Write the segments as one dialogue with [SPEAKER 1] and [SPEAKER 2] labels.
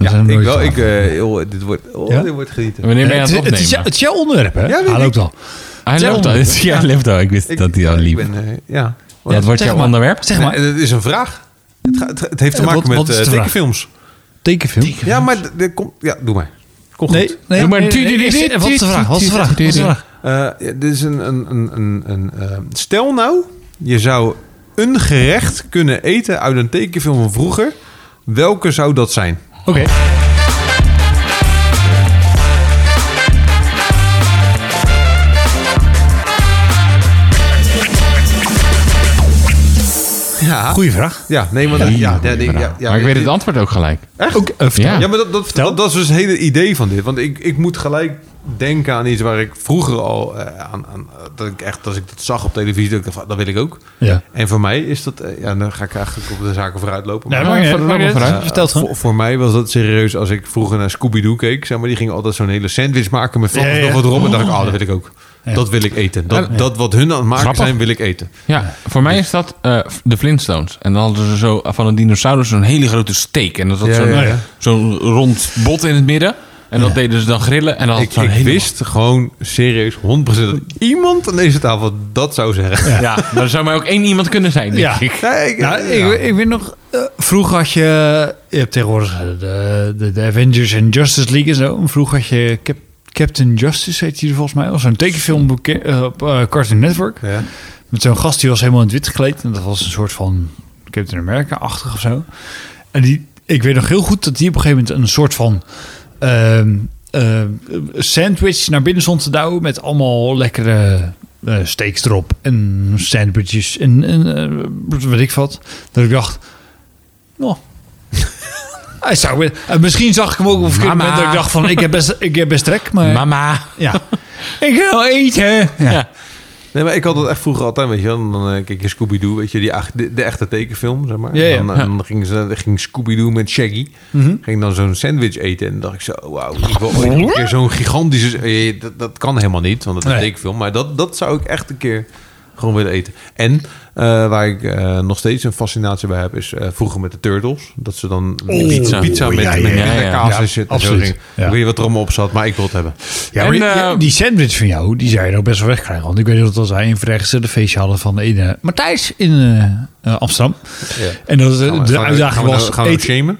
[SPEAKER 1] ze hem
[SPEAKER 2] ik
[SPEAKER 1] nooit
[SPEAKER 2] wel.
[SPEAKER 1] af.
[SPEAKER 2] Ik, eh, joh, dit, wordt, oh,
[SPEAKER 1] Ja?
[SPEAKER 2] dit wordt genieten.
[SPEAKER 3] Wanneer ben je aan
[SPEAKER 1] het,
[SPEAKER 3] het
[SPEAKER 1] is- het, is, jou-
[SPEAKER 3] opnemen?
[SPEAKER 1] het is jouw onderwerp, hè?
[SPEAKER 2] Ja, weet
[SPEAKER 1] hij
[SPEAKER 2] ik.
[SPEAKER 1] loopt al.
[SPEAKER 3] Hij loopt al. Ja, hij loopt al. Ik wist
[SPEAKER 2] Ik-
[SPEAKER 3] dat hij al
[SPEAKER 2] ik
[SPEAKER 3] liep.
[SPEAKER 2] ben, eh, ja.
[SPEAKER 3] Ja, het wordt
[SPEAKER 1] Zeg
[SPEAKER 3] jouw
[SPEAKER 1] maar.
[SPEAKER 3] onderwerp.
[SPEAKER 1] Zeg
[SPEAKER 2] Nee,
[SPEAKER 1] maar,
[SPEAKER 2] het is een vraag. Het, gaat- het heeft te
[SPEAKER 1] Eh,
[SPEAKER 2] maken
[SPEAKER 1] wat- wat
[SPEAKER 2] met
[SPEAKER 1] is
[SPEAKER 2] eh,
[SPEAKER 1] de vraag?
[SPEAKER 2] tekenfilms.
[SPEAKER 1] tekenfilm.
[SPEAKER 2] Ja, maar d- dit komt... Ja, doe maar. Kom goed.
[SPEAKER 1] Nee, nee,
[SPEAKER 3] Doe maar.
[SPEAKER 1] nee, nee, nee, eerst- Wat is de vraag? Wat is de vraag? Wat is de vraag?
[SPEAKER 2] Eh, ja, dit is een... een, een, een, een eh, stel nou, je zou een gerecht kunnen eten uit een tekenfilm van vroeger. Welke zou dat zijn?
[SPEAKER 1] Oké.
[SPEAKER 2] Ja,
[SPEAKER 1] Goeie vraag.
[SPEAKER 2] ja nee, maar... Ja, ja, ja, ja, ja,
[SPEAKER 3] maar ik weet het
[SPEAKER 2] ja,
[SPEAKER 3] antwoord ook gelijk.
[SPEAKER 1] Echt? Ook, eh, vertel.
[SPEAKER 3] Ja.
[SPEAKER 2] Ja, maar dat, dat, dat, dat is dus het hele idee van dit. Want ik, ik moet gelijk denken aan iets waar ik vroeger al eh, aan, aan... Dat ik echt, als ik dat zag op televisie, dat ik dacht, van, dat wil ik ook.
[SPEAKER 1] Ja.
[SPEAKER 2] En voor mij is dat... eh, ja, dan ga ik eigenlijk op de zaken vooruit lopen.
[SPEAKER 1] Nee,
[SPEAKER 2] maar- eh,
[SPEAKER 1] maar
[SPEAKER 3] Ja,
[SPEAKER 1] ja,
[SPEAKER 3] vertel maar vooruit.
[SPEAKER 1] Vertel het
[SPEAKER 2] voor, voor mij was dat serieus als ik vroeger naar Scooby-Doo keek. Zeg maar, die gingen altijd zo'n hele sandwich maken met vlekken
[SPEAKER 1] Ja, ja, ja.
[SPEAKER 2] nog wat erop. En dacht ik, ah, dat wil ik ook. Dat wil ik eten. Dat,
[SPEAKER 3] Ja.
[SPEAKER 2] dat wat hun aan het maken
[SPEAKER 3] Grappig.
[SPEAKER 2] zijn, wil ik eten.
[SPEAKER 3] Ja, voor mij is dat eh, de Flintstones. En dan hadden ze zo van een dinosaurus zo'n hele grote steek. En dat had
[SPEAKER 2] Ja,
[SPEAKER 3] zo'n nou
[SPEAKER 2] ja, ja.
[SPEAKER 3] zo'n rond bot in het midden. En dat deden ze dan grillen. En dan had
[SPEAKER 2] Ik,
[SPEAKER 3] het zo'n
[SPEAKER 2] ik
[SPEAKER 3] hele...
[SPEAKER 2] wist gewoon serieus 100% dat iemand aan deze tafel dat zou zeggen.
[SPEAKER 3] Ja, maar er zou mij ook één iemand kunnen zijn, denk
[SPEAKER 1] Ja.
[SPEAKER 3] ik.
[SPEAKER 2] Nee, ik-
[SPEAKER 1] Nou, ik, ik weet nog, eh, vroeger had je, je hebt tegenwoordig eh, de, de, de Avengers en Justice League en zo. En Vroeger had je Cap- Captain Justice, heet hij er volgens mij, was zo'n tekenfilm beke- eh, op eh, Cartoon Network.
[SPEAKER 2] ja.
[SPEAKER 1] Met zo'n gast die was helemaal in het wit gekleed. En dat was een soort van Captain America-achtig of zo. En die, ik weet nog heel goed dat die op een gegeven moment een soort van ehm, ehm, sandwich naar binnen stond te douwen. Met allemaal lekkere eh steaks erop en sandwiches en, en eh, weet ik wat. Dat ik dacht, nou... Hij zou, wel- en misschien zag ik hem ook op een verkeerd
[SPEAKER 3] Mama.
[SPEAKER 1] moment dat ik dacht van ik heb best, ik heb best trek,
[SPEAKER 3] eh,
[SPEAKER 1] maar
[SPEAKER 3] Mama.
[SPEAKER 1] ja. ik
[SPEAKER 3] Oh,
[SPEAKER 1] wil eten. Ja.
[SPEAKER 2] Nee, maar ik had dat echt vroeger altijd, weet je wel. Dan eh, keek je Scooby-Doo, weet je, die, ach- de, de echte tekenfilm, zeg maar.
[SPEAKER 1] Ja, ja. Mhm.
[SPEAKER 2] En dan, en dan ging, ze, dan ging Scooby-Doo met Shaggy, ging dan zo'n sandwich eten. En dan dacht ik zo, wauw, ik wil ooit een keer zo'n gigantische... eh, dat, dat kan helemaal niet, want dat is
[SPEAKER 1] Nee.
[SPEAKER 2] een tekenfilm. Maar dat, dat zou ik echt een keer gewoon willen eten. En eh, waar ik eh, nog steeds een fascinatie bij heb, is eh, vroeger met de Turtles. Dat ze dan
[SPEAKER 1] Oh,
[SPEAKER 2] pizza, pizza met,
[SPEAKER 1] ja, ja,
[SPEAKER 2] met
[SPEAKER 3] ja, ja.
[SPEAKER 2] kaas en
[SPEAKER 1] Ja,
[SPEAKER 2] shit. en zo
[SPEAKER 1] absoluut.
[SPEAKER 2] ging.
[SPEAKER 1] Ja.
[SPEAKER 2] Ik weet niet wat er allemaal op zat, maar ik wil het hebben.
[SPEAKER 1] Ja, maar
[SPEAKER 3] En,
[SPEAKER 1] die-
[SPEAKER 3] eh,
[SPEAKER 1] die sandwich van jou, die zou je ook best wel wegkrijgen. Want ik weet dat als wij een verrechtstelde feestje hadden van een, eh, Matthijs in eh, eh, Amsterdam.
[SPEAKER 2] Ja.
[SPEAKER 1] En dat
[SPEAKER 2] Gaan
[SPEAKER 1] eh,
[SPEAKER 2] we-
[SPEAKER 1] de
[SPEAKER 2] gaan we-
[SPEAKER 1] uitdaging
[SPEAKER 2] gaan we nou-
[SPEAKER 1] was...
[SPEAKER 2] Gaan we Oh,
[SPEAKER 1] eten-
[SPEAKER 2] nou shamen?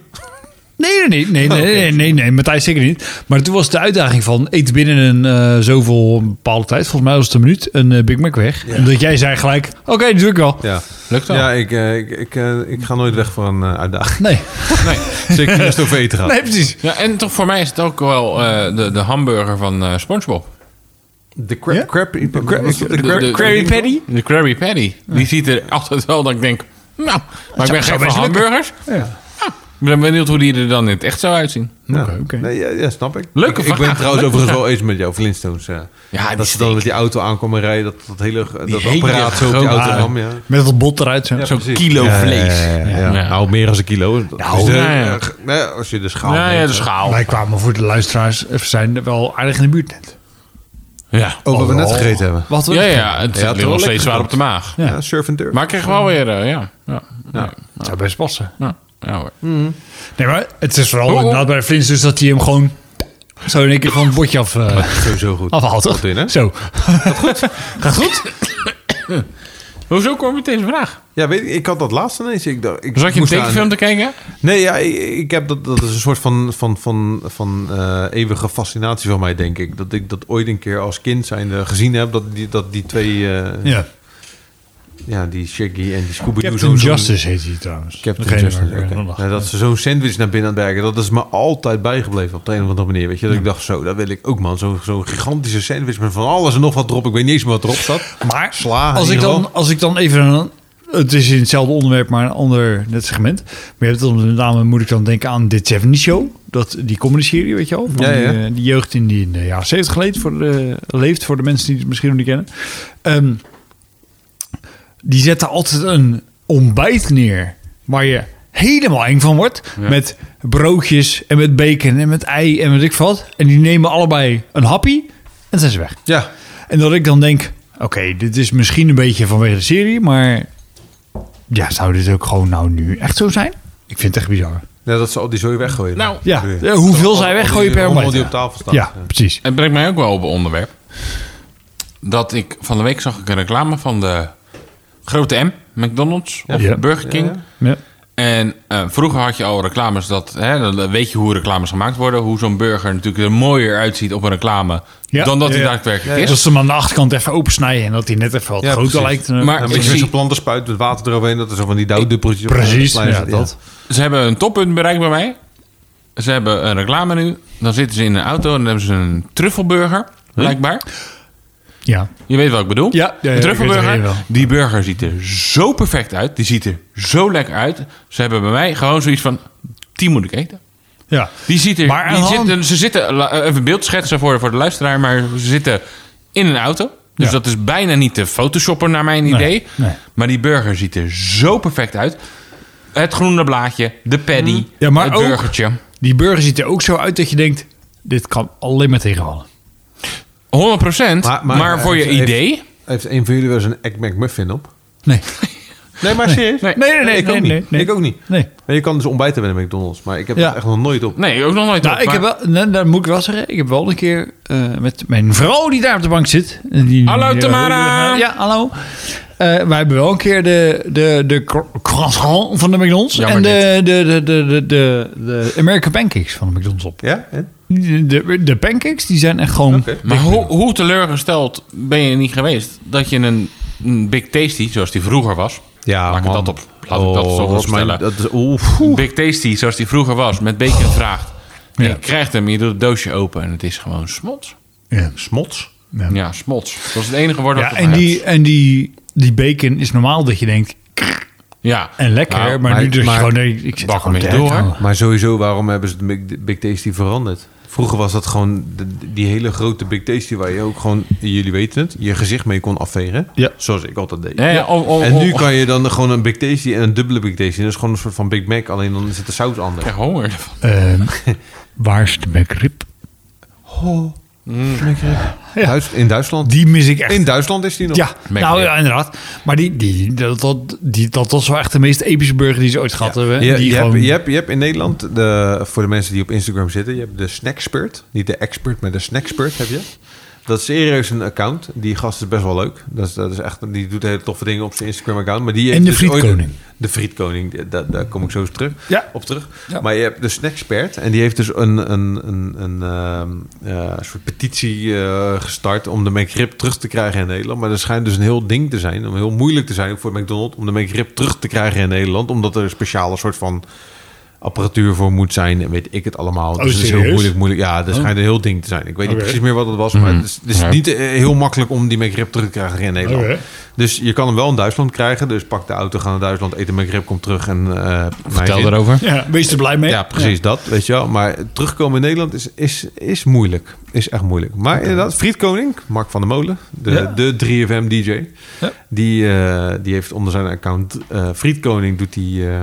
[SPEAKER 1] Nee, nee, nee, nee, nee, nee, nee, nee, Matthijs zeker niet. Maar toen was de uitdaging van eet binnen een eh, zoveel bepaalde tijd, volgens mij was het een minuut, een eh, Big Mac weg. Omdat jij zei gelijk, oké, dat doe ik wel.
[SPEAKER 2] Ja.
[SPEAKER 3] Lukt wel.
[SPEAKER 2] Ja, ik, eh, ik, ik, eh, ik ga nooit weg voor een eh, uitdaging.
[SPEAKER 1] Nee,
[SPEAKER 3] Nee.
[SPEAKER 2] Zeker niet als het over eten gaat.
[SPEAKER 1] nee, precies.
[SPEAKER 3] Ja, en toch voor mij is het ook wel eh, de, de hamburger van eh, Spongebob.
[SPEAKER 2] De crap,
[SPEAKER 1] Ja?
[SPEAKER 2] crap, de crap,
[SPEAKER 3] De- de- de- De Krabby Patty. Die ziet er altijd wel dat ik denk... Nou, maar ik ben gek van
[SPEAKER 1] zou best lukken.
[SPEAKER 3] hamburgers.
[SPEAKER 1] Ja.
[SPEAKER 3] Ik ben benieuwd hoe die er dan in het echt zou uitzien.
[SPEAKER 2] Ja.
[SPEAKER 1] Oké, oké.
[SPEAKER 2] Nee, ja, ja, snap ik.
[SPEAKER 3] Leuke
[SPEAKER 2] ik, ik ben
[SPEAKER 3] vraag.
[SPEAKER 2] trouwens overigens wel eens met jou, Flintstones. Ja,
[SPEAKER 3] Ja, die
[SPEAKER 2] dat ze dan met die auto aankomen rijden, dat, dat hele dat
[SPEAKER 3] hele
[SPEAKER 2] apparaat zo op die
[SPEAKER 3] grote-
[SPEAKER 2] auto ram. Ja.
[SPEAKER 1] Met dat bot eruit. Zo.
[SPEAKER 3] Zo'n
[SPEAKER 2] precies.
[SPEAKER 3] kilo
[SPEAKER 2] Ja,
[SPEAKER 3] vlees.
[SPEAKER 2] Ja, ja, ja, ja.
[SPEAKER 3] Ja.
[SPEAKER 2] Nou, meer dan een kilo. Dat
[SPEAKER 3] Nou,
[SPEAKER 2] is de-
[SPEAKER 3] ja, ja.
[SPEAKER 2] eh, nee, als je de schaal.
[SPEAKER 3] Ja, ja,
[SPEAKER 2] neemt, eh,
[SPEAKER 3] de
[SPEAKER 2] hè.
[SPEAKER 3] schaal.
[SPEAKER 1] Wij kwamen voor de luisteraars, eh, we zijn wel aardig in de buurt net.
[SPEAKER 3] Ja.
[SPEAKER 2] Oh, wat we net gegeten hebben.
[SPEAKER 1] Wat we
[SPEAKER 3] Ja, ja, het
[SPEAKER 2] Ja,
[SPEAKER 3] zit
[SPEAKER 2] het
[SPEAKER 3] ligt nog
[SPEAKER 2] wel
[SPEAKER 3] steeds
[SPEAKER 2] lekker
[SPEAKER 3] zwaar op de maag.
[SPEAKER 2] Ja, surf and turf.
[SPEAKER 3] Maar ik kreeg wel weer, eh, ja. Ja, ja.
[SPEAKER 1] Het zou best passen.
[SPEAKER 3] ja. hoor.
[SPEAKER 1] Nee, maar het is vooral
[SPEAKER 3] Oh, oh.
[SPEAKER 1] inderdaad bij de Flintstones dus dat hij hem gewoon zo in één keer van het bordje af, eh,
[SPEAKER 2] Sowieso goed.
[SPEAKER 1] afhaalt, toch?
[SPEAKER 2] Wat in, hè?
[SPEAKER 1] Zo. Gaat goed? Gaat goed?
[SPEAKER 3] Hoezo kom je met deze vraag?
[SPEAKER 2] Ja, weet ik, ik had dat laatst ineens. Ik, dacht- ik
[SPEAKER 3] Zat je een
[SPEAKER 2] moest aan-
[SPEAKER 3] tekenfilm te kijken?
[SPEAKER 2] Nee, ja, ik, ik heb dat, dat is een soort van, van, van, van eh, eeuwige fascinatie van mij, denk ik. Dat ik dat ooit een keer als kind zijnde gezien heb. Dat die, dat die twee, eh, ja.
[SPEAKER 1] Ja.
[SPEAKER 2] die Shaggy en die Scooby-Doo.
[SPEAKER 1] Captain
[SPEAKER 2] zo'n-
[SPEAKER 1] Justice heet hij trouwens.
[SPEAKER 2] Captain
[SPEAKER 1] Degene
[SPEAKER 2] Justice,
[SPEAKER 1] waar ik
[SPEAKER 2] oké.
[SPEAKER 1] aan dacht.
[SPEAKER 2] Ja, dat ze zo'n sandwich naar binnen aan het werken, dat is me altijd bijgebleven op de een of andere manier. Weet je, dat ik dacht, zo, dat wil ik ook, man. Zo'n zo'n gigantische sandwich met van alles en nog wat erop. Ik weet niet eens meer wat erop zat.
[SPEAKER 1] Maar
[SPEAKER 2] Sla, in
[SPEAKER 1] als, ik
[SPEAKER 2] ieder
[SPEAKER 1] dan,
[SPEAKER 2] geval.
[SPEAKER 1] als ik dan even een... Het is in hetzelfde onderwerp, maar een ander net segment. Maar je hebt dan met name, moet ik dan denken aan dit 70 Show. Dat, die comedy serie, weet je wel. Van
[SPEAKER 2] Ja,
[SPEAKER 1] die,
[SPEAKER 2] ja.
[SPEAKER 1] eh, die jeugd in die in de jaren 70 geleefd voor de, leeft, voor de mensen die het misschien nog niet kennen. Ehm, die zetten altijd een ontbijt neer waar je helemaal eng van wordt. Met broodjes en met bacon en met ei en weet ik wat. En die nemen allebei een happy en zijn ze weg.
[SPEAKER 2] Ja,
[SPEAKER 1] En dat ik dan denk, oké, dit is misschien een beetje vanwege de serie, maar ja, zou dit ook gewoon nou nu echt zo zijn? Ik vind het echt bizar.
[SPEAKER 2] Ja, dat ze al die zooi weggooien.
[SPEAKER 3] Nou,
[SPEAKER 1] Ja,
[SPEAKER 2] Bedoel je?
[SPEAKER 1] eh, hoeveel
[SPEAKER 2] Al-
[SPEAKER 1] zij
[SPEAKER 2] al
[SPEAKER 1] weggooien
[SPEAKER 2] die
[SPEAKER 1] per
[SPEAKER 2] rommel die
[SPEAKER 1] meter.
[SPEAKER 2] op tafel staat.
[SPEAKER 1] Ja, precies.
[SPEAKER 3] Het brengt mij ook wel op een onderwerp. Dat ik van de week zag ik een reclame van de grote M, McDonald's of
[SPEAKER 1] Ja.
[SPEAKER 3] Burger King.
[SPEAKER 2] Ja, ja.
[SPEAKER 1] Ja.
[SPEAKER 3] En eh, vroeger had je al reclames dat, hè, dan weet je hoe reclames gemaakt worden, hoe zo'n burger natuurlijk er mooier uitziet op een reclame
[SPEAKER 1] Ja.
[SPEAKER 3] dan dat hij
[SPEAKER 1] Ja, ja.
[SPEAKER 3] daadwerkelijk
[SPEAKER 1] Dus
[SPEAKER 3] is.
[SPEAKER 1] dat ze hem aan de achterkant even opensnijden en dat hij net even wat
[SPEAKER 2] Ja,
[SPEAKER 1] groter
[SPEAKER 2] precies.
[SPEAKER 1] lijkt. eh, En-
[SPEAKER 3] Maar-
[SPEAKER 2] Ja,
[SPEAKER 3] Ik
[SPEAKER 2] met zo'n
[SPEAKER 3] zie-
[SPEAKER 2] planten spuit met water eroverheen. Dat is zo van die dauwduppeltjes. op de
[SPEAKER 1] Precies,
[SPEAKER 2] kleine
[SPEAKER 1] ja,
[SPEAKER 2] zet,
[SPEAKER 1] dat.
[SPEAKER 3] Ze hebben een toppunt bereikt bij mij. Ze hebben een reclame nu. Dan zitten ze in een auto en dan hebben ze een truffelburger, blijkbaar.
[SPEAKER 1] ja.
[SPEAKER 3] Je weet wat ik bedoel.
[SPEAKER 1] Ja, ja, ja,
[SPEAKER 3] een
[SPEAKER 1] ik weet het
[SPEAKER 3] truffelburger.
[SPEAKER 1] wel.
[SPEAKER 3] Die burger ziet er zo perfect uit. Die ziet er zo lekker uit. Ze hebben bij mij gewoon zoiets van... Die moet ik eten.
[SPEAKER 1] ja.
[SPEAKER 3] Die ziet er...
[SPEAKER 1] Maar
[SPEAKER 3] die
[SPEAKER 1] aan de hand-
[SPEAKER 3] zitten- ze zitten... la- eh, Even beeld schetsen voor, voor de luisteraar. Maar ze zitten in een auto. Dus
[SPEAKER 1] Ja.
[SPEAKER 3] dat is bijna niet te photoshoppen naar mijn idee.
[SPEAKER 1] nee.
[SPEAKER 3] Maar die burger ziet er zo perfect uit. Het groene blaadje. De paddy.
[SPEAKER 1] Mm. Ja, maar
[SPEAKER 3] het
[SPEAKER 1] ook-
[SPEAKER 3] burgertje.
[SPEAKER 1] Die burger ziet er ook zo uit dat je denkt, dit kan alleen maar tegenvallen.
[SPEAKER 3] 100 procent.
[SPEAKER 2] Maar- eh,
[SPEAKER 3] Maar,
[SPEAKER 2] maar-
[SPEAKER 3] voor je
[SPEAKER 2] heeft-
[SPEAKER 3] idee...
[SPEAKER 2] Heeft een van jullie wel eens een Egg McMuffin op?
[SPEAKER 1] Nee.
[SPEAKER 2] Nee, maar serieus?
[SPEAKER 3] Nee.
[SPEAKER 1] Nee, nee, nee.
[SPEAKER 2] ik, ook
[SPEAKER 1] nee,
[SPEAKER 2] niet.
[SPEAKER 1] nee, nee.
[SPEAKER 2] ik ook niet.
[SPEAKER 1] Nee.
[SPEAKER 2] Maar je kan dus ontbijten bij de McDonald's. Maar ik heb
[SPEAKER 1] Ja.
[SPEAKER 2] dat echt nog nooit op.
[SPEAKER 3] Nee, ook nog nooit.
[SPEAKER 1] Nou,
[SPEAKER 3] op,
[SPEAKER 1] ik
[SPEAKER 3] maar-
[SPEAKER 1] heb wel, nee, dat moet ik wel zeggen. Ik heb wel een keer eh, met mijn vrouw die daar op de bank zit. en Die,
[SPEAKER 3] Hallo,
[SPEAKER 1] die-
[SPEAKER 3] Tamara.
[SPEAKER 1] Ja, hallo. Eh wij hebben wel een keer de, de, de cro- croissant van de McDonald's.
[SPEAKER 3] Jammer
[SPEAKER 1] en de, de, de, de, de, de, de American Pancakes van de McDonald's op.
[SPEAKER 2] Ja? Hè?
[SPEAKER 1] De, de, de pancakes die zijn echt gewoon...
[SPEAKER 2] Oké.
[SPEAKER 3] Maar hoe, hoe teleurgesteld ben je niet geweest dat je een, een Big Tasty, zoals die vroeger was...
[SPEAKER 2] Ja,
[SPEAKER 3] laat ik
[SPEAKER 2] man.
[SPEAKER 3] dat op, laat ik dat
[SPEAKER 2] Oh,
[SPEAKER 3] zo
[SPEAKER 2] dat is mijn-
[SPEAKER 3] opstellen.
[SPEAKER 2] dat is- oeh, oeh.
[SPEAKER 3] Big Tasty, zoals die vroeger was, met bacon vraagt. En
[SPEAKER 1] Ja.
[SPEAKER 3] Je krijgt hem, je doet het doosje open en het is gewoon smots.
[SPEAKER 1] Ja.
[SPEAKER 2] Smots.
[SPEAKER 1] Ja.
[SPEAKER 3] Ja, smots. Dat is het enige woord dat
[SPEAKER 1] Ja,
[SPEAKER 3] ik
[SPEAKER 1] en
[SPEAKER 3] heb.
[SPEAKER 1] die, en die, die bacon is normaal dat je denkt,
[SPEAKER 3] Ja.
[SPEAKER 1] en lekker.
[SPEAKER 3] Nou,
[SPEAKER 1] maar, nu
[SPEAKER 2] maar-
[SPEAKER 1] dus
[SPEAKER 2] maar-
[SPEAKER 1] gewoon, nee, ik zit
[SPEAKER 3] Bak
[SPEAKER 1] gewoon
[SPEAKER 3] hem
[SPEAKER 1] te
[SPEAKER 3] in door.
[SPEAKER 1] herkauwen.
[SPEAKER 2] Maar sowieso, waarom hebben ze de Big, Big Tasty veranderd? Vroeger was dat gewoon de- die hele grote Big Tasty waar je ook gewoon, jullie weten het, je gezicht mee kon afvegen.
[SPEAKER 1] Ja.
[SPEAKER 2] Zoals ik altijd deed.
[SPEAKER 3] Ja, ja, oh, oh,
[SPEAKER 2] En nu
[SPEAKER 3] oh,
[SPEAKER 2] kan je dan gewoon een Big Tasty en een dubbele Big Tasty. Dat is gewoon een soort van Big Mac, alleen dan zit de saus
[SPEAKER 3] Ik
[SPEAKER 2] anders.
[SPEAKER 3] krijg honger.
[SPEAKER 1] Ehm, waar is de McRib?
[SPEAKER 3] Mm.
[SPEAKER 1] Ja.
[SPEAKER 2] Duits- in Duitsland?
[SPEAKER 1] Die mis ik echt.
[SPEAKER 2] In Duitsland is die nog.
[SPEAKER 1] ja, nou ja, inderdaad. Maar die, die, dat, dat, die, dat was wel echt de meest epische burger die ze ooit gehad hebben.
[SPEAKER 2] Je,
[SPEAKER 1] die
[SPEAKER 2] je,
[SPEAKER 1] gewoon,
[SPEAKER 2] hebt, je, hebt, je hebt in Nederland, de, voor de mensen die op Instagram zitten, je hebt de Snackspert. Niet de expert, maar de Snackspert heb je. Dat is serieus een account. Die gast is best wel leuk. Dat is, dat is echt, die doet hele toffe dingen op zijn Instagram-account. Maar die heeft
[SPEAKER 1] En de
[SPEAKER 2] dus ooit-
[SPEAKER 1] frietkoning.
[SPEAKER 2] de frietkoning, daar, daar kom ik zo eens terug,
[SPEAKER 1] Ja.
[SPEAKER 2] op terug.
[SPEAKER 1] Ja.
[SPEAKER 2] Maar je hebt de Snackspert. En die heeft dus een, een, een, een ehm, eh, soort petitie eh, gestart om de McRib terug te krijgen in Nederland. Maar dat schijnt dus een heel ding te zijn. Om heel moeilijk te zijn voor McDonald's om de McRib terug te krijgen in Nederland. Omdat er een speciale soort van apparatuur voor moet zijn en weet ik het allemaal. dus het is heel
[SPEAKER 1] Oh, serieus?
[SPEAKER 2] moeilijk, moeilijk. Ja, dat schijnt een heel ding te zijn. Ik weet niet
[SPEAKER 1] Oké.
[SPEAKER 2] precies meer wat het was, maar het is, het is niet eh, heel makkelijk om die McRib terug te krijgen in Nederland.
[SPEAKER 1] Oké.
[SPEAKER 2] Dus je kan hem wel in Duitsland krijgen. Dus pak de auto, ga naar Duitsland, eten McRib, kom terug en... eh, mijn
[SPEAKER 3] Vertel
[SPEAKER 2] zin.
[SPEAKER 3] erover.
[SPEAKER 1] ja, wees er blij mee.
[SPEAKER 2] Ja, precies dat, weet je wel. Maar terugkomen in Nederland is, is, is moeilijk. Is echt moeilijk. Maar inderdaad, Friedkoning, Mark van der Molen, de,
[SPEAKER 1] Ja.
[SPEAKER 2] de 3FM-DJ...
[SPEAKER 1] Ja.
[SPEAKER 2] Die, eh, die heeft onder zijn account... eh Friedkoning doet die... eh,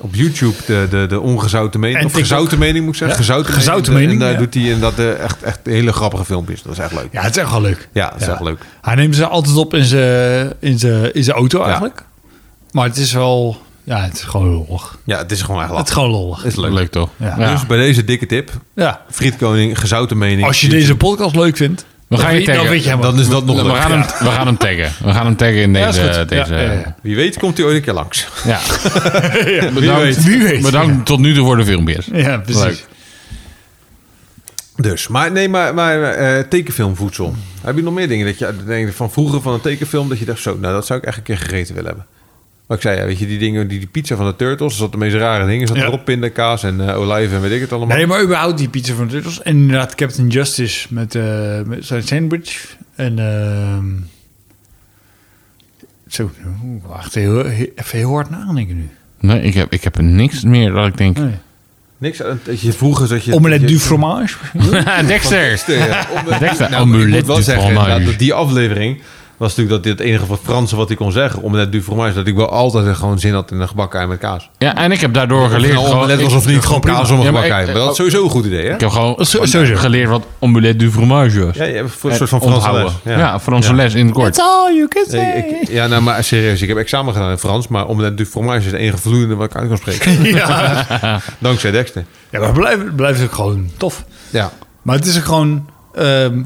[SPEAKER 2] op YouTube de, de, de ongezouten mening.
[SPEAKER 1] En
[SPEAKER 2] of
[SPEAKER 1] TikTok.
[SPEAKER 2] gezouten mening moet ik zeggen.
[SPEAKER 1] Ja,
[SPEAKER 2] Gezouten,
[SPEAKER 1] gezouten
[SPEAKER 2] En
[SPEAKER 1] mening,
[SPEAKER 2] daar
[SPEAKER 1] ja.
[SPEAKER 2] doet hij inderdaad eh, echt, echt hele grappige filmpjes. Dat is echt leuk.
[SPEAKER 1] Ja, het is echt wel leuk.
[SPEAKER 2] Ja, dat is echt leuk.
[SPEAKER 1] Hij neemt ze altijd op in zijn in zijn- in zijn auto eigenlijk. Maar het is wel... Ja, het is gewoon lollig.
[SPEAKER 2] Ja, het is gewoon echt
[SPEAKER 1] Het is
[SPEAKER 2] lachen.
[SPEAKER 1] gewoon lollig.
[SPEAKER 2] Het is leuk.
[SPEAKER 3] Leuk toch?
[SPEAKER 1] Ja.
[SPEAKER 2] Dus bij deze dikke tip.
[SPEAKER 1] Ja.
[SPEAKER 2] Friedkoning, gezouten mening.
[SPEAKER 1] Als je deze podcast leuk vindt, dan,
[SPEAKER 3] gaan je
[SPEAKER 1] weet- dan
[SPEAKER 3] taggen.
[SPEAKER 1] weet je helemaal.
[SPEAKER 2] Dan is dat nog
[SPEAKER 3] we,
[SPEAKER 2] leuk.
[SPEAKER 3] gaan hem, we gaan hem taggen. We gaan hem taggen in
[SPEAKER 1] Ja, is
[SPEAKER 3] deze...
[SPEAKER 1] goed. Ja,
[SPEAKER 3] eh, deze
[SPEAKER 1] ja, ja.
[SPEAKER 2] Wie weet komt hij ooit een keer langs.
[SPEAKER 3] ja.
[SPEAKER 2] weet.
[SPEAKER 3] Bedankt,
[SPEAKER 1] Wie weet.
[SPEAKER 3] bedankt tot nu toe voor de filmpjes.
[SPEAKER 1] Ja, precies.
[SPEAKER 3] Leuk.
[SPEAKER 2] Dus, maar nee, maar, maar eh, tekenfilmvoedsel. Heb je nog meer dingen dat je denkt van vroeger van een tekenfilm dat je dacht zo, nou dat zou ik echt een keer gegeten willen hebben. Maar ik zei ja, weet je, die dingen, die, die pizza van de Turtles, er zat de meest rare dingen, er zat
[SPEAKER 1] Ja.
[SPEAKER 2] erop pindakaas en eh, olijven en weet ik het allemaal.
[SPEAKER 1] Nee, maar überhaupt die pizza van de Turtles. En inderdaad Captain Justice met, eh, met zijn sandwich. En ehm, zo, oeh, wacht heel, he- even heel hard nadenken nu.
[SPEAKER 3] Nee, ik heb, ik heb niks meer dat ik denk...
[SPEAKER 2] Niks aan- dat je vroeger dat je
[SPEAKER 1] Omelette
[SPEAKER 2] dat je-
[SPEAKER 1] du fromage.
[SPEAKER 3] Dexter!
[SPEAKER 2] Ja, om-
[SPEAKER 3] Dexter,
[SPEAKER 2] nou, maar ik moet
[SPEAKER 3] omelette
[SPEAKER 2] wel
[SPEAKER 3] du
[SPEAKER 2] zeggen
[SPEAKER 3] fromage.
[SPEAKER 2] inderdaad dat die aflevering was natuurlijk dat dit het enige wat Franse wat hij kon zeggen. Omelet du fromage. Dat ik wel altijd gewoon zin had in een gebakken ei met kaas.
[SPEAKER 3] Ja, en ik heb daardoor geleerd...
[SPEAKER 2] Een
[SPEAKER 3] gewoon-
[SPEAKER 2] omelet was of
[SPEAKER 3] ik-
[SPEAKER 2] niet gewoon kaas om een
[SPEAKER 3] Ja, maar
[SPEAKER 2] gebakken ei.
[SPEAKER 3] ik- Oh.
[SPEAKER 2] Maar dat is sowieso een goed idee, hè?
[SPEAKER 3] Ik heb gewoon
[SPEAKER 1] Zo- sowieso.
[SPEAKER 3] geleerd wat omelette du fromage was.
[SPEAKER 2] Ja, je hebt een soort van Franse les.
[SPEAKER 3] Onthouden. Ja, Franse les in het kort.
[SPEAKER 1] all you can
[SPEAKER 2] Nee, ik- ja, nou, maar serieus. Ik heb examen gedaan in Frans. Maar omelet du fromage is het enige vloeiende wat ik uit kan spreken.
[SPEAKER 1] ja.
[SPEAKER 2] Dankzij Dexter.
[SPEAKER 1] ja, maar blijft blijft ook gewoon tof.
[SPEAKER 2] Ja.
[SPEAKER 1] Maar het is ook gewoon, ehm,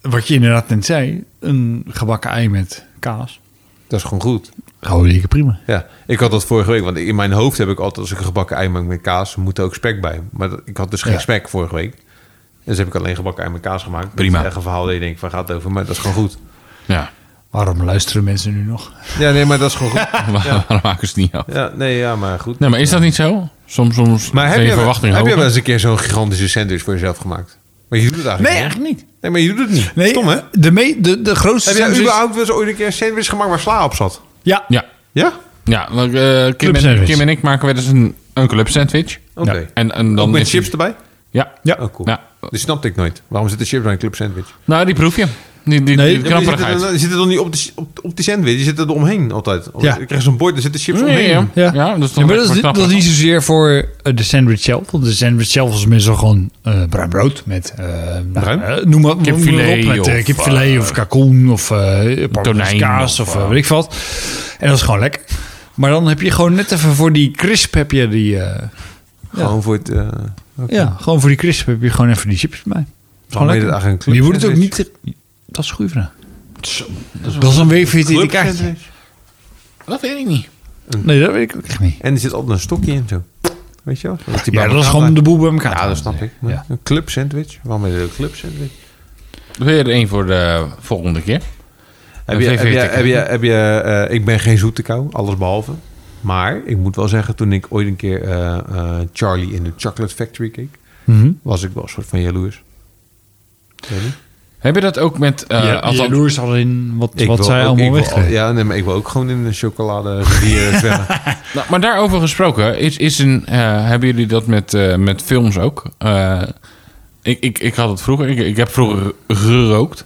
[SPEAKER 1] wat je inderdaad net zei, een gebakken ei met kaas.
[SPEAKER 2] Dat is gewoon goed.
[SPEAKER 1] Gewoon lekker prima.
[SPEAKER 2] Ja, ik had dat vorige week. Want in mijn hoofd heb ik altijd, als ik een gebakken ei maak met kaas, moet er ook spek bij. Maar dat- ik had dus geen
[SPEAKER 1] Ja.
[SPEAKER 2] spek vorige week. Dus heb ik alleen gebakken ei met kaas gemaakt.
[SPEAKER 3] Prima.
[SPEAKER 2] Dat is echt een verhaal dat je denkt, waar gaat het over? Maar dat is gewoon goed.
[SPEAKER 3] Ja,
[SPEAKER 1] Waarom luisteren mensen nu nog?
[SPEAKER 2] Ja, nee, maar dat is gewoon goed.
[SPEAKER 3] waarom maken ze het niet af?
[SPEAKER 2] Ja, nee, ja, maar goed.
[SPEAKER 3] Nee, maar is dat niet zo? Soms, soms
[SPEAKER 2] Maar heb,
[SPEAKER 3] zijn
[SPEAKER 2] je,
[SPEAKER 3] je verwachtingen
[SPEAKER 2] heb je
[SPEAKER 3] hoger.
[SPEAKER 2] wel eens een keer zo'n gigantische sandwich voor jezelf gemaakt? Maar je doet het eigenlijk niet. hè?
[SPEAKER 1] niet.
[SPEAKER 2] Nee, maar je doet het niet.
[SPEAKER 1] Nee,
[SPEAKER 2] Stom, hè?
[SPEAKER 1] De, me, de, de grootste
[SPEAKER 2] Heb jij
[SPEAKER 1] sandwich-
[SPEAKER 2] überhaupt wel eens ooit een keer een sandwich gemaakt waar sla op zat?
[SPEAKER 1] Ja.
[SPEAKER 3] Ja,
[SPEAKER 2] Ja?
[SPEAKER 3] ja want, eh, Kim,
[SPEAKER 1] Club
[SPEAKER 3] en,
[SPEAKER 1] sandwich.
[SPEAKER 3] Kim en ik maken wel eens een, een club sandwich.
[SPEAKER 2] Oké.
[SPEAKER 1] Ja.
[SPEAKER 3] En, en dan
[SPEAKER 2] Ook met
[SPEAKER 3] is die-
[SPEAKER 2] chips erbij?
[SPEAKER 3] Ja.
[SPEAKER 1] Ja.
[SPEAKER 2] Oh, cool.
[SPEAKER 3] Ja.
[SPEAKER 2] Die snapte ik nooit. Waarom zitten chips bij een club sandwich?
[SPEAKER 3] Nou, die proef je. Die, die,
[SPEAKER 1] Nee,
[SPEAKER 3] die
[SPEAKER 1] ja,
[SPEAKER 2] Ja, maar die zitten
[SPEAKER 3] knapperigheid.
[SPEAKER 2] dan- die zitten dan niet op de, op, op die sandwich, die zitten er omheen altijd. Of-
[SPEAKER 1] Ja.
[SPEAKER 2] Ik krijg zo'n bord, er zitten chips
[SPEAKER 3] Nee,
[SPEAKER 2] omheen.
[SPEAKER 3] ja. Ja, dat
[SPEAKER 1] Ja.
[SPEAKER 3] is toch
[SPEAKER 1] Ja, maar
[SPEAKER 3] echt
[SPEAKER 1] dat, is,
[SPEAKER 3] wel
[SPEAKER 1] dat is
[SPEAKER 3] knapperig.
[SPEAKER 1] niet zozeer voor eh, de sandwich zelf. Want de sandwich zelf is meestal gewoon eh, bruin brood met... eh, nou,
[SPEAKER 2] Bruin?
[SPEAKER 1] eh, noem maar, noem maar
[SPEAKER 3] Kipfilet
[SPEAKER 1] op, met, eh,
[SPEAKER 3] of,
[SPEAKER 1] kipfilet
[SPEAKER 3] eh,
[SPEAKER 1] of kalkoen of eh
[SPEAKER 3] tonijn
[SPEAKER 1] kaas
[SPEAKER 3] of,
[SPEAKER 1] of, eh,
[SPEAKER 3] eh,
[SPEAKER 1] weet ik wat. En dat is gewoon lekker. Maar dan heb je gewoon net even voor die crisp heb je die... eh,
[SPEAKER 2] Gewoon voor het... eh
[SPEAKER 1] Ja, gewoon voor die crisp heb je gewoon even die chips bij. Gewoon
[SPEAKER 2] heet
[SPEAKER 1] lekker.
[SPEAKER 2] het eigenlijk een club
[SPEAKER 1] Maar je moet het ook niet...
[SPEAKER 2] sandwich?
[SPEAKER 1] Dat is een goede vraag. Dat is een W14 kaartje.
[SPEAKER 2] sandwich.
[SPEAKER 3] Dat weet ik niet.
[SPEAKER 1] Nee, dat weet ik ook echt niet.
[SPEAKER 2] En er zit altijd een stokje in zo. Weet je wel? Dat die bij
[SPEAKER 1] Ja, dat is
[SPEAKER 2] elkaar
[SPEAKER 1] gewoon
[SPEAKER 2] blijft.
[SPEAKER 1] de boel bij elkaar.
[SPEAKER 2] Ja, dat snap ik. Maar
[SPEAKER 1] Ja.
[SPEAKER 2] Een club sandwich. Waarom is het een club sandwich?
[SPEAKER 3] Weer één voor de volgende keer.
[SPEAKER 2] Heb je,
[SPEAKER 3] VV
[SPEAKER 2] heb je,
[SPEAKER 3] tikken.
[SPEAKER 2] heb je, heb je eh, ik ben geen zoete kou, alles behalve. Maar ik moet wel zeggen, toen ik ooit een keer eh, eh, Charlie in de Chocolate Factory keek,
[SPEAKER 1] Mhm.
[SPEAKER 2] was ik wel een soort van jaloers. Weet je?
[SPEAKER 3] Heb je dat ook met... eh
[SPEAKER 1] ja,
[SPEAKER 3] althans-
[SPEAKER 1] jaloers al in wat,
[SPEAKER 2] Ik
[SPEAKER 1] Dus wat
[SPEAKER 2] wil
[SPEAKER 1] zij
[SPEAKER 2] ook-
[SPEAKER 1] allemaal
[SPEAKER 2] ik wil al-
[SPEAKER 1] weggeven.
[SPEAKER 2] Ja, nee, maar ik wil ook gewoon in een chocolade rivier zwemmen.
[SPEAKER 3] Nou, maar daarover gesproken, is, is een, eh, hebben jullie dat met, eh, met films ook? Eh, ik, ik, ik had het vroeger, ik, ik heb vroeger gerookt.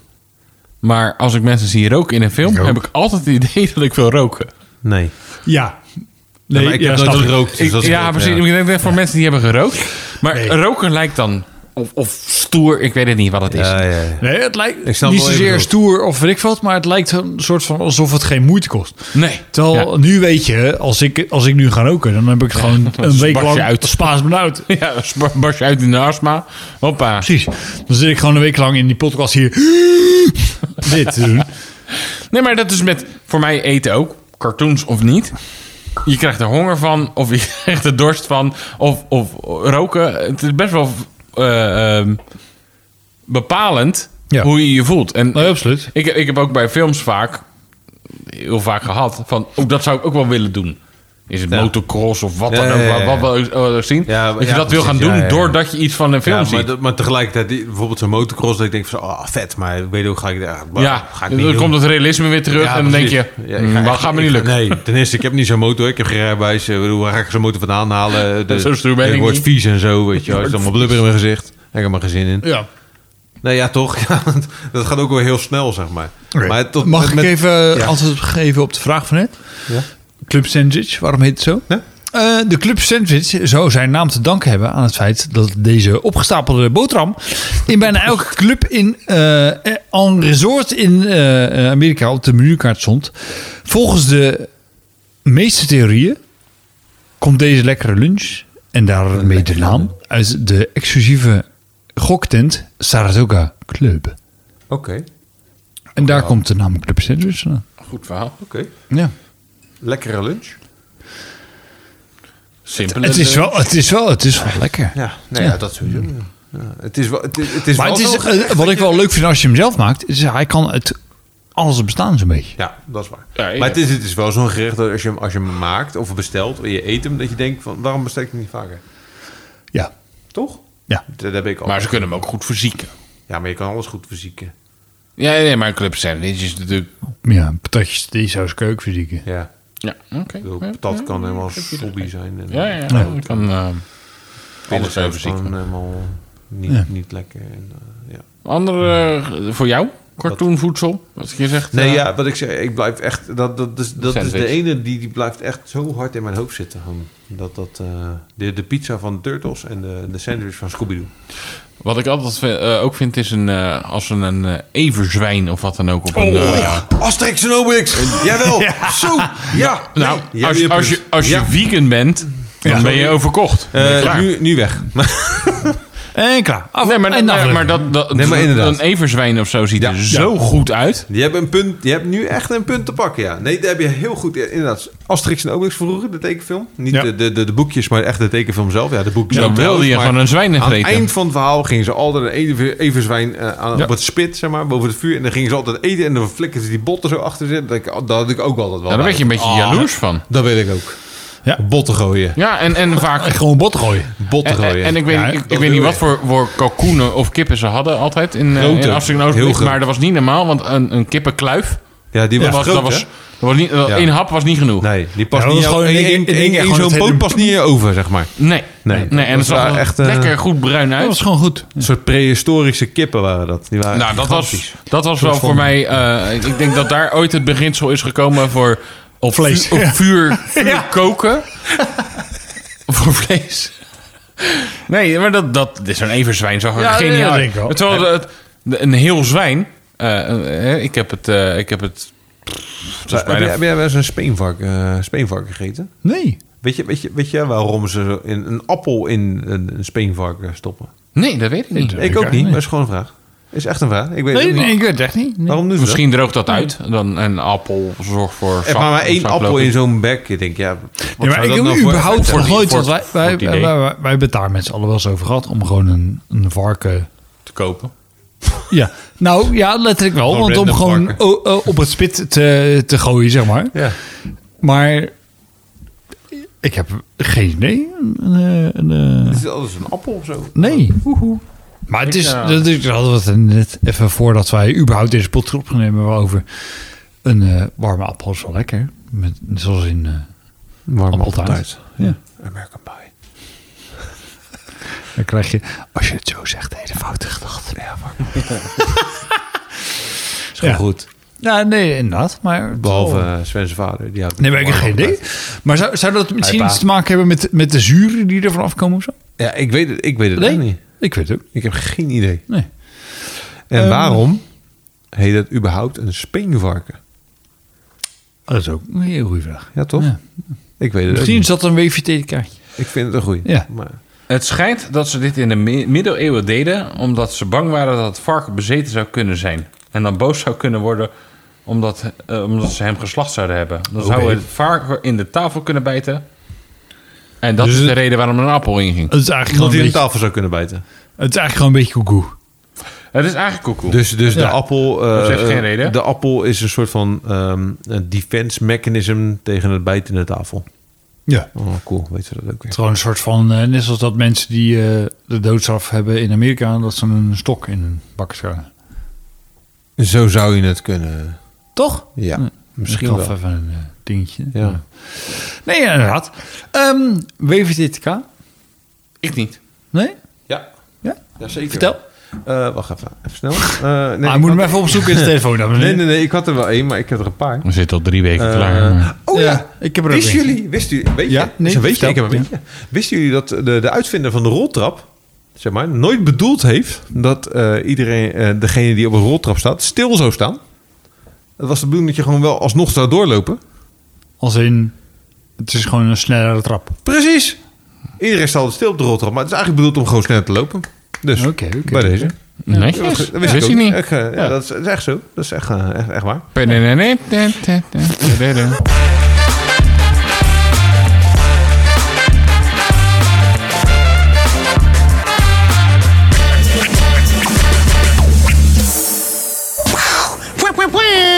[SPEAKER 3] Maar als ik mensen zie roken in een film,
[SPEAKER 1] Ik ook.
[SPEAKER 3] heb ik altijd het idee dat ik wil roken.
[SPEAKER 2] Nee.
[SPEAKER 1] Ja.
[SPEAKER 2] Nee,
[SPEAKER 1] Nee,
[SPEAKER 2] maar ik
[SPEAKER 1] ja,
[SPEAKER 2] heb
[SPEAKER 1] snap
[SPEAKER 2] nooit
[SPEAKER 1] ik.
[SPEAKER 2] gerookt. Dus
[SPEAKER 3] Ik-
[SPEAKER 2] dat is
[SPEAKER 3] ja,
[SPEAKER 2] goed,
[SPEAKER 3] precies. Ik denk dat voor mensen die hebben gerookt. Maar roken lijkt dan, of, of stoer, ik weet het niet wat het is.
[SPEAKER 2] Ja, ja, ja.
[SPEAKER 1] Nee, het lijkt
[SPEAKER 2] Ik snap
[SPEAKER 1] niet
[SPEAKER 2] wel even
[SPEAKER 1] zozeer
[SPEAKER 2] goed.
[SPEAKER 1] stoer of weet ik wat, maar het lijkt een soort van alsof het geen moeite kost.
[SPEAKER 3] Nee.
[SPEAKER 1] Terwijl nu weet je, als ik, als ik nu ga roken, dan heb ik het gewoon een week
[SPEAKER 3] barst je
[SPEAKER 1] lang
[SPEAKER 3] uit.
[SPEAKER 1] Spaans benauwd.
[SPEAKER 3] Ja, ja dus bar- barst je uit in de astma. Hoppa.
[SPEAKER 1] Precies. Dan zit ik gewoon een week lang in die podcast hier. dit te doen.
[SPEAKER 3] Nee, maar dat is met voor mij eten ook. Cartoons of niet. Je krijgt er honger van, of je krijgt er dorst van, of, of roken. Het is best wel eh, ehm, bepalend
[SPEAKER 1] Ja.
[SPEAKER 3] hoe je je voelt. En
[SPEAKER 1] Nee, absoluut.
[SPEAKER 3] ik, ik heb ook bij films vaak, heel vaak gehad, van oh, dat zou ik ook wel willen doen. Is het
[SPEAKER 2] Ja.
[SPEAKER 3] motocross of wat
[SPEAKER 2] Ja,
[SPEAKER 3] dan ook,
[SPEAKER 2] ja, ja, ja.
[SPEAKER 3] wat wil je ook zien?
[SPEAKER 2] Ja,
[SPEAKER 3] dat je
[SPEAKER 2] ja,
[SPEAKER 3] dat wil
[SPEAKER 2] precies.
[SPEAKER 3] gaan doen
[SPEAKER 2] Ja, ja, ja.
[SPEAKER 3] doordat je iets van een film
[SPEAKER 2] Ja, maar,
[SPEAKER 3] ziet.
[SPEAKER 2] dat- maar tegelijkertijd, die, bijvoorbeeld zo'n motocross, dat ik denk van, zo, ah, vet, maar ik weet ook, ga ik, ja, bah,
[SPEAKER 3] ja,
[SPEAKER 2] ga ik niet
[SPEAKER 3] dan
[SPEAKER 2] doen.
[SPEAKER 3] komt het realisme weer terug
[SPEAKER 2] Ja,
[SPEAKER 3] en dan denk
[SPEAKER 2] precies.
[SPEAKER 3] je,
[SPEAKER 2] Ja,
[SPEAKER 3] ja,
[SPEAKER 2] ik ga echt-
[SPEAKER 3] gaat me
[SPEAKER 2] ik
[SPEAKER 3] niet
[SPEAKER 2] ga-
[SPEAKER 3] lukken.
[SPEAKER 2] Nee, ten eerste, ik heb niet zo'n motor. Ik heb geen rijbewijs. eh, bedoel, Waar ga ik zo'n motor vandaan halen? De,
[SPEAKER 3] Zo stoer ben
[SPEAKER 2] het
[SPEAKER 3] ik
[SPEAKER 2] wordt
[SPEAKER 3] niet.
[SPEAKER 2] vies en zo, weet je wel. Het is allemaal blubber in mijn gezicht. Ik heb er maar geen zin in.
[SPEAKER 1] Ja.
[SPEAKER 2] Nou ja, toch. Ja, want dat gaat ook wel heel snel, zeg maar. Maar tot,
[SPEAKER 1] Mag
[SPEAKER 2] met-
[SPEAKER 1] ik
[SPEAKER 2] met-
[SPEAKER 1] even
[SPEAKER 2] Ja.
[SPEAKER 1] antwoord geven op de vraag van net?
[SPEAKER 2] Ja.
[SPEAKER 1] Club Sandwich, waarom heet het zo?
[SPEAKER 2] Ja.
[SPEAKER 1] Eh, de Club Sandwich zou zijn naam te danken hebben aan het feit dat deze opgestapelde boterham in bijna elke club in eh, eh, en resort in eh, Amerika op de menukaart stond. Volgens de meeste theorieën komt deze lekkere lunch en daarmee de naam uit de exclusieve goktent Saratoga Club.
[SPEAKER 2] Oké,
[SPEAKER 1] En daar komt de naam Club Sandwich vandaan.
[SPEAKER 3] Goed verhaal.
[SPEAKER 2] oké.
[SPEAKER 1] Ja.
[SPEAKER 2] Lekkere lunch.
[SPEAKER 3] Simpele
[SPEAKER 1] Het is wel, het is wel, het is wel lekker.
[SPEAKER 2] Ja, nou ja, dat sowieso. Ja. Ja, het is wel... Het, is- het is
[SPEAKER 1] Maar
[SPEAKER 2] wel
[SPEAKER 1] het is,
[SPEAKER 2] wel-
[SPEAKER 1] eh, wat ik wel leuk vind als je hem zelf maakt, is hij kan het alles bestaan zo'n beetje.
[SPEAKER 2] Ja, dat is waar.
[SPEAKER 3] Ja, ja.
[SPEAKER 2] Maar het is, het is wel zo'n gerecht dat als je, hem- als je hem maakt of bestelt... en je eet hem, dat je denkt van... waarom bestel ik hem niet vaker?
[SPEAKER 1] Ja.
[SPEAKER 2] Toch?
[SPEAKER 1] Ja.
[SPEAKER 2] Dat heb ik al.
[SPEAKER 3] Maar ze kunnen hem ook goed verzieken.
[SPEAKER 2] Ja, maar je kan alles goed verzieken.
[SPEAKER 3] Ja, nee, maar een club sandwich is natuurlijk...
[SPEAKER 1] Ja, patatjes, die saus, keukverzieken.
[SPEAKER 2] Ja.
[SPEAKER 3] Ja, oké.
[SPEAKER 2] Ik bedoel, patat kan helemaal sobby zijn. En
[SPEAKER 3] Ja, ja, ja.
[SPEAKER 1] Ja.
[SPEAKER 3] Je kan eh, alles
[SPEAKER 2] Alles
[SPEAKER 3] even
[SPEAKER 2] is gewoon
[SPEAKER 3] verzieken.
[SPEAKER 2] helemaal niet,
[SPEAKER 1] Ja.
[SPEAKER 2] niet lekker. En, eh, ja.
[SPEAKER 3] Andere, eh, voor jou? Cartoonvoedsel, wat je zegt.
[SPEAKER 2] Nee,
[SPEAKER 3] eh,
[SPEAKER 2] ja, wat ik zei, ik blijf echt. Dat, dat, is, dat is de
[SPEAKER 3] Sandwich.
[SPEAKER 2] ene die, die blijft echt zo hard in mijn hoofd zitten. Gewoon. Dat, dat, eh, de, de pizza van Turtles en de, de sandwich van Scooby-Doo.
[SPEAKER 3] Wat ik altijd vi- eh, ook vind is een, eh, als een, een eh, everzwijn of wat dan ook
[SPEAKER 2] Oh,
[SPEAKER 3] op een... eh,
[SPEAKER 2] Asterix en Obelix! Jawel! Zo! Ja!
[SPEAKER 3] nou,
[SPEAKER 2] Nee, jij
[SPEAKER 3] als,
[SPEAKER 2] hebt
[SPEAKER 3] je-
[SPEAKER 2] een
[SPEAKER 3] als, je,
[SPEAKER 2] punt.
[SPEAKER 3] als je
[SPEAKER 2] Ja.
[SPEAKER 3] vegan bent, dan ben je overkocht.
[SPEAKER 2] Eh,
[SPEAKER 3] Ben je klaar.
[SPEAKER 2] nu, nu weg.
[SPEAKER 1] En klaar. Af-
[SPEAKER 3] nee, maar,
[SPEAKER 1] en
[SPEAKER 3] nee,
[SPEAKER 1] aflevering.
[SPEAKER 3] maar, dat, dat,
[SPEAKER 2] Nee, maar inderdaad.
[SPEAKER 3] een everzwijn of zo ziet
[SPEAKER 2] Ja.
[SPEAKER 3] er zo goed uit.
[SPEAKER 2] Je hebt, een punt, je hebt nu echt een punt te pakken, ja. Nee, daar heb je heel goed... ja, inderdaad, Asterix en Obelix vroeger, de tekenfilm. Niet
[SPEAKER 1] Ja.
[SPEAKER 2] de, de, de, de boekjes, maar echt de tekenfilm zelf. Ja, de boekjes.
[SPEAKER 3] dan
[SPEAKER 2] ook wel,
[SPEAKER 3] wilde je
[SPEAKER 2] maar
[SPEAKER 3] gewoon een zwijn
[SPEAKER 2] Aan het
[SPEAKER 3] vreten.
[SPEAKER 2] eind van het verhaal gingen ze altijd een even- everzwijn eh, aan,
[SPEAKER 1] Ja.
[SPEAKER 2] op het spit, zeg maar, boven het vuur. En dan gingen ze altijd eten en dan flikkerden ze die botten zo achter zitten. Dat, ik- oh, dat had ik ook altijd wel.
[SPEAKER 3] Ja, daar werd je een beetje
[SPEAKER 2] Ah,
[SPEAKER 3] jaloers van.
[SPEAKER 2] Dat weet ik ook.
[SPEAKER 1] Ja.
[SPEAKER 2] Botten gooien.
[SPEAKER 3] Ja, en, en vaak...
[SPEAKER 1] Gewoon bot gooien.
[SPEAKER 2] Botten
[SPEAKER 3] En,
[SPEAKER 2] gooien.
[SPEAKER 3] en- en ik weet,
[SPEAKER 1] Ja,
[SPEAKER 3] ik,
[SPEAKER 2] dat
[SPEAKER 3] ik
[SPEAKER 2] wil
[SPEAKER 3] weet niet
[SPEAKER 2] je.
[SPEAKER 3] wat voor, voor kalkoenen of kippen ze hadden altijd in, eh,
[SPEAKER 2] Grote.
[SPEAKER 3] in Amsterdam
[SPEAKER 2] Heel
[SPEAKER 3] Oostenrijk.
[SPEAKER 2] groot.
[SPEAKER 3] Maar dat was niet normaal, want een, een kippenkluif...
[SPEAKER 2] ja, die was,
[SPEAKER 3] dat was,
[SPEAKER 2] groot,
[SPEAKER 3] dat was,
[SPEAKER 2] hè?
[SPEAKER 3] dat was niet, dat-
[SPEAKER 2] Ja.
[SPEAKER 3] één hap was niet genoeg.
[SPEAKER 2] Nee, die past
[SPEAKER 1] Ja, dat
[SPEAKER 2] niet...
[SPEAKER 1] was
[SPEAKER 2] Gewoon
[SPEAKER 1] gewoon in één- in één keer gewoon
[SPEAKER 2] zo'n
[SPEAKER 1] het hele-
[SPEAKER 2] poot past niet in je over, zeg maar.
[SPEAKER 3] Nee.
[SPEAKER 2] Nee.
[SPEAKER 3] en het
[SPEAKER 2] Dat
[SPEAKER 3] zag
[SPEAKER 2] waren
[SPEAKER 3] er
[SPEAKER 2] echt,
[SPEAKER 3] echt,
[SPEAKER 2] eh,
[SPEAKER 3] lekker goed bruin
[SPEAKER 1] Dat
[SPEAKER 3] uit.
[SPEAKER 1] was gewoon goed.
[SPEAKER 2] Een soort prehistorische kippen waren dat. Die
[SPEAKER 1] Eh,
[SPEAKER 2] waren
[SPEAKER 3] nou, dat was,
[SPEAKER 2] gigantisch.
[SPEAKER 3] dat was wel voor mij... eh, ik- ik denk dat daar ooit het beginsel is gekomen voor... Op
[SPEAKER 1] Vlees.
[SPEAKER 3] vu- op vuur, vuur koken. voor vlees. Nee, maar dat, dat dit is zo'n everzwijn. Zo
[SPEAKER 1] Ja,
[SPEAKER 3] geniaal.
[SPEAKER 1] dat
[SPEAKER 3] uit.
[SPEAKER 1] denk ik wel.
[SPEAKER 3] Terwijl de- het, de- een heel zwijn... eh, eh, ik heb het... eh, ik heb het het is
[SPEAKER 2] Heb jij-
[SPEAKER 3] bijna
[SPEAKER 2] Heb jij wel eens een speenvark, eh, speenvark gegeten?
[SPEAKER 1] Nee.
[SPEAKER 2] Weet je, weet, je, weet je waarom ze zo in een appel in een, een speenvark eh, stoppen?
[SPEAKER 3] Nee, dat weet ik niet.
[SPEAKER 2] ik ook
[SPEAKER 1] ik
[SPEAKER 2] niet,
[SPEAKER 1] niet.
[SPEAKER 2] maar is gewoon een vraag. Is echt een vraag. Ik weet het
[SPEAKER 1] Nee,
[SPEAKER 2] ook
[SPEAKER 1] nee,
[SPEAKER 2] niet.
[SPEAKER 1] ik weet het echt niet. Nee.
[SPEAKER 2] Waarom doen ze dat?
[SPEAKER 3] Misschien droogt dat uit. Dan een appel zorgt voor.
[SPEAKER 2] Er
[SPEAKER 3] sap-
[SPEAKER 2] maar maar één
[SPEAKER 3] sap,
[SPEAKER 2] appel
[SPEAKER 3] geloof ik.
[SPEAKER 2] in zo'n bek. Ik denk, ja, wat
[SPEAKER 1] Ja, maar
[SPEAKER 2] zou
[SPEAKER 1] ik
[SPEAKER 2] dat
[SPEAKER 1] heb
[SPEAKER 2] nou voor
[SPEAKER 1] überhaupt
[SPEAKER 3] voor
[SPEAKER 1] nog
[SPEAKER 3] die-
[SPEAKER 1] nooit,
[SPEAKER 3] voor-
[SPEAKER 1] want wij,
[SPEAKER 3] voor
[SPEAKER 1] wij,
[SPEAKER 3] het
[SPEAKER 1] wij,
[SPEAKER 3] idee.
[SPEAKER 1] wij, wij hebben het daar met z'n allen wel eens over gehad om gewoon een, een varken...
[SPEAKER 3] te kopen.
[SPEAKER 1] Ja, nou ja, letterlijk wel.
[SPEAKER 2] Gewoon
[SPEAKER 1] Want om
[SPEAKER 2] random
[SPEAKER 1] gewoon
[SPEAKER 2] varken.
[SPEAKER 1] o- o- op het spit te, te gooien, zeg maar.
[SPEAKER 2] Ja.
[SPEAKER 1] Maar ik heb geen idee. Een, eh, een, eh,
[SPEAKER 2] Het is altijd een appel of zo.
[SPEAKER 1] nee. Maar het is,
[SPEAKER 3] eh,
[SPEAKER 1] dat is, we hadden we het er net even voordat wij überhaupt deze pot opgenomen hebben over een eh, warme appel is wel lekker. Met, zoals in eh,
[SPEAKER 2] Warm
[SPEAKER 1] appeltaart. Ja.
[SPEAKER 2] American Pie.
[SPEAKER 1] Dan krijg je, als je het zo zegt, hele foute gedachten. Ja,
[SPEAKER 2] Is gewoon
[SPEAKER 1] Ja.
[SPEAKER 2] goed.
[SPEAKER 1] nee, inderdaad. Maar
[SPEAKER 2] Behalve eh, Sven's vader. Die had
[SPEAKER 1] Nee, maar ik heb
[SPEAKER 2] warm
[SPEAKER 1] geen idee.
[SPEAKER 2] appeltaart.
[SPEAKER 1] Maar zou, zou dat misschien
[SPEAKER 2] Hey, pa.
[SPEAKER 1] iets te maken hebben met, met de zuren die er vanaf komen of zo?
[SPEAKER 2] Ja, ik weet het, ik weet het echt niet.
[SPEAKER 1] Ik weet het ook.
[SPEAKER 2] Ik heb geen idee.
[SPEAKER 1] Nee.
[SPEAKER 2] En
[SPEAKER 1] Ehm.
[SPEAKER 2] waarom heet het überhaupt een speenvarken?
[SPEAKER 1] Dat is ook een heel goede vraag.
[SPEAKER 2] Ja, toch?
[SPEAKER 1] Ja.
[SPEAKER 2] Ik weet het ook
[SPEAKER 1] Misschien
[SPEAKER 2] niet.
[SPEAKER 1] is dat een WVT-kaartje.
[SPEAKER 2] Ik vind het een goeie.
[SPEAKER 1] Ja.
[SPEAKER 2] Maar
[SPEAKER 3] Het schijnt dat ze dit in de mi- middeleeuwen deden. omdat ze bang waren dat het varken bezeten zou kunnen zijn. En dan boos zou kunnen worden omdat, eh, omdat ze hem geslacht zouden hebben. Dan zou
[SPEAKER 2] Oké.
[SPEAKER 3] het varken in de tafel kunnen bijten. En dat
[SPEAKER 1] Dus
[SPEAKER 3] is de
[SPEAKER 1] het-
[SPEAKER 3] reden waarom er een appel in ging.
[SPEAKER 1] Het is eigenlijk
[SPEAKER 2] iemand
[SPEAKER 1] gewoon
[SPEAKER 2] die
[SPEAKER 1] een
[SPEAKER 2] een
[SPEAKER 1] beetje,
[SPEAKER 2] tafel zou kunnen bijten.
[SPEAKER 1] het is eigenlijk gewoon een beetje koekoe.
[SPEAKER 3] Het is eigenlijk koekoe.
[SPEAKER 2] Dus, dus de
[SPEAKER 1] Ja.
[SPEAKER 2] appel... eh,
[SPEAKER 3] Dat heeft geen
[SPEAKER 2] eh,
[SPEAKER 3] reden.
[SPEAKER 2] De appel is een soort van ehm, een defense mechanism tegen het bijten in de tafel.
[SPEAKER 1] Ja. Het
[SPEAKER 2] Oh, cool. Weet je dat ook
[SPEAKER 1] is
[SPEAKER 2] weer.
[SPEAKER 1] gewoon een soort van, eh, net zoals dat mensen die eh, de doodstraf hebben in Amerika, dat ze een stok in hun bak schuiven.
[SPEAKER 2] Zo zou je het kunnen.
[SPEAKER 1] Toch?
[SPEAKER 2] Ja, misschien
[SPEAKER 1] Ik gaf
[SPEAKER 2] wel.
[SPEAKER 1] even een eh, dingetje.
[SPEAKER 2] Ja.
[SPEAKER 1] Nee, ja, inderdaad. Ehm WVTK?
[SPEAKER 3] ik niet.
[SPEAKER 1] Nee?
[SPEAKER 2] Ja,
[SPEAKER 1] Ja?
[SPEAKER 2] zeker.
[SPEAKER 1] Vertel.
[SPEAKER 2] wacht even. Even snel. Eh, nee,
[SPEAKER 1] Maar
[SPEAKER 2] ik
[SPEAKER 1] moet
[SPEAKER 2] had-
[SPEAKER 1] hem even opzoeken in de telefoon. dames en
[SPEAKER 2] Nee,
[SPEAKER 1] heren.
[SPEAKER 2] nee, nee. Ik had er wel één, maar ik heb er een paar.
[SPEAKER 3] We zitten al drie weken
[SPEAKER 2] Eh,
[SPEAKER 3] klaar. maar-
[SPEAKER 2] oh
[SPEAKER 1] Ja,
[SPEAKER 2] ja,
[SPEAKER 1] ik heb er ook
[SPEAKER 2] Wisten
[SPEAKER 1] eentje.
[SPEAKER 2] jullie, wisten jullie, weet je,
[SPEAKER 1] Ja,
[SPEAKER 2] is
[SPEAKER 1] nee,
[SPEAKER 2] een weetje,
[SPEAKER 1] vertel.
[SPEAKER 2] ik heb een
[SPEAKER 1] Ja.
[SPEAKER 2] weetje. Wisten jullie dat de, de uitvinder van de roltrap, zeg maar, nooit bedoeld heeft dat eh, iedereen, eh, degene die op een roltrap staat, stil zou staan? Het was de bedoeling dat je gewoon wel alsnog zou doorlopen.
[SPEAKER 1] Als in, het is gewoon een snellere trap.
[SPEAKER 2] Precies. Iedereen staat altijd stil op de roltrap, maar het is eigenlijk bedoeld om gewoon sneller te lopen. Dus,
[SPEAKER 1] Oké, oké.
[SPEAKER 2] bij deze.
[SPEAKER 3] Netjes.
[SPEAKER 2] Dat
[SPEAKER 3] Dat wist
[SPEAKER 2] ook.
[SPEAKER 3] ik niet.
[SPEAKER 2] Ik, eh, ja, dat is, dat is echt zo. Dat is echt, eh, echt, echt waar.
[SPEAKER 4] Wow! Wow! Wow! Wow!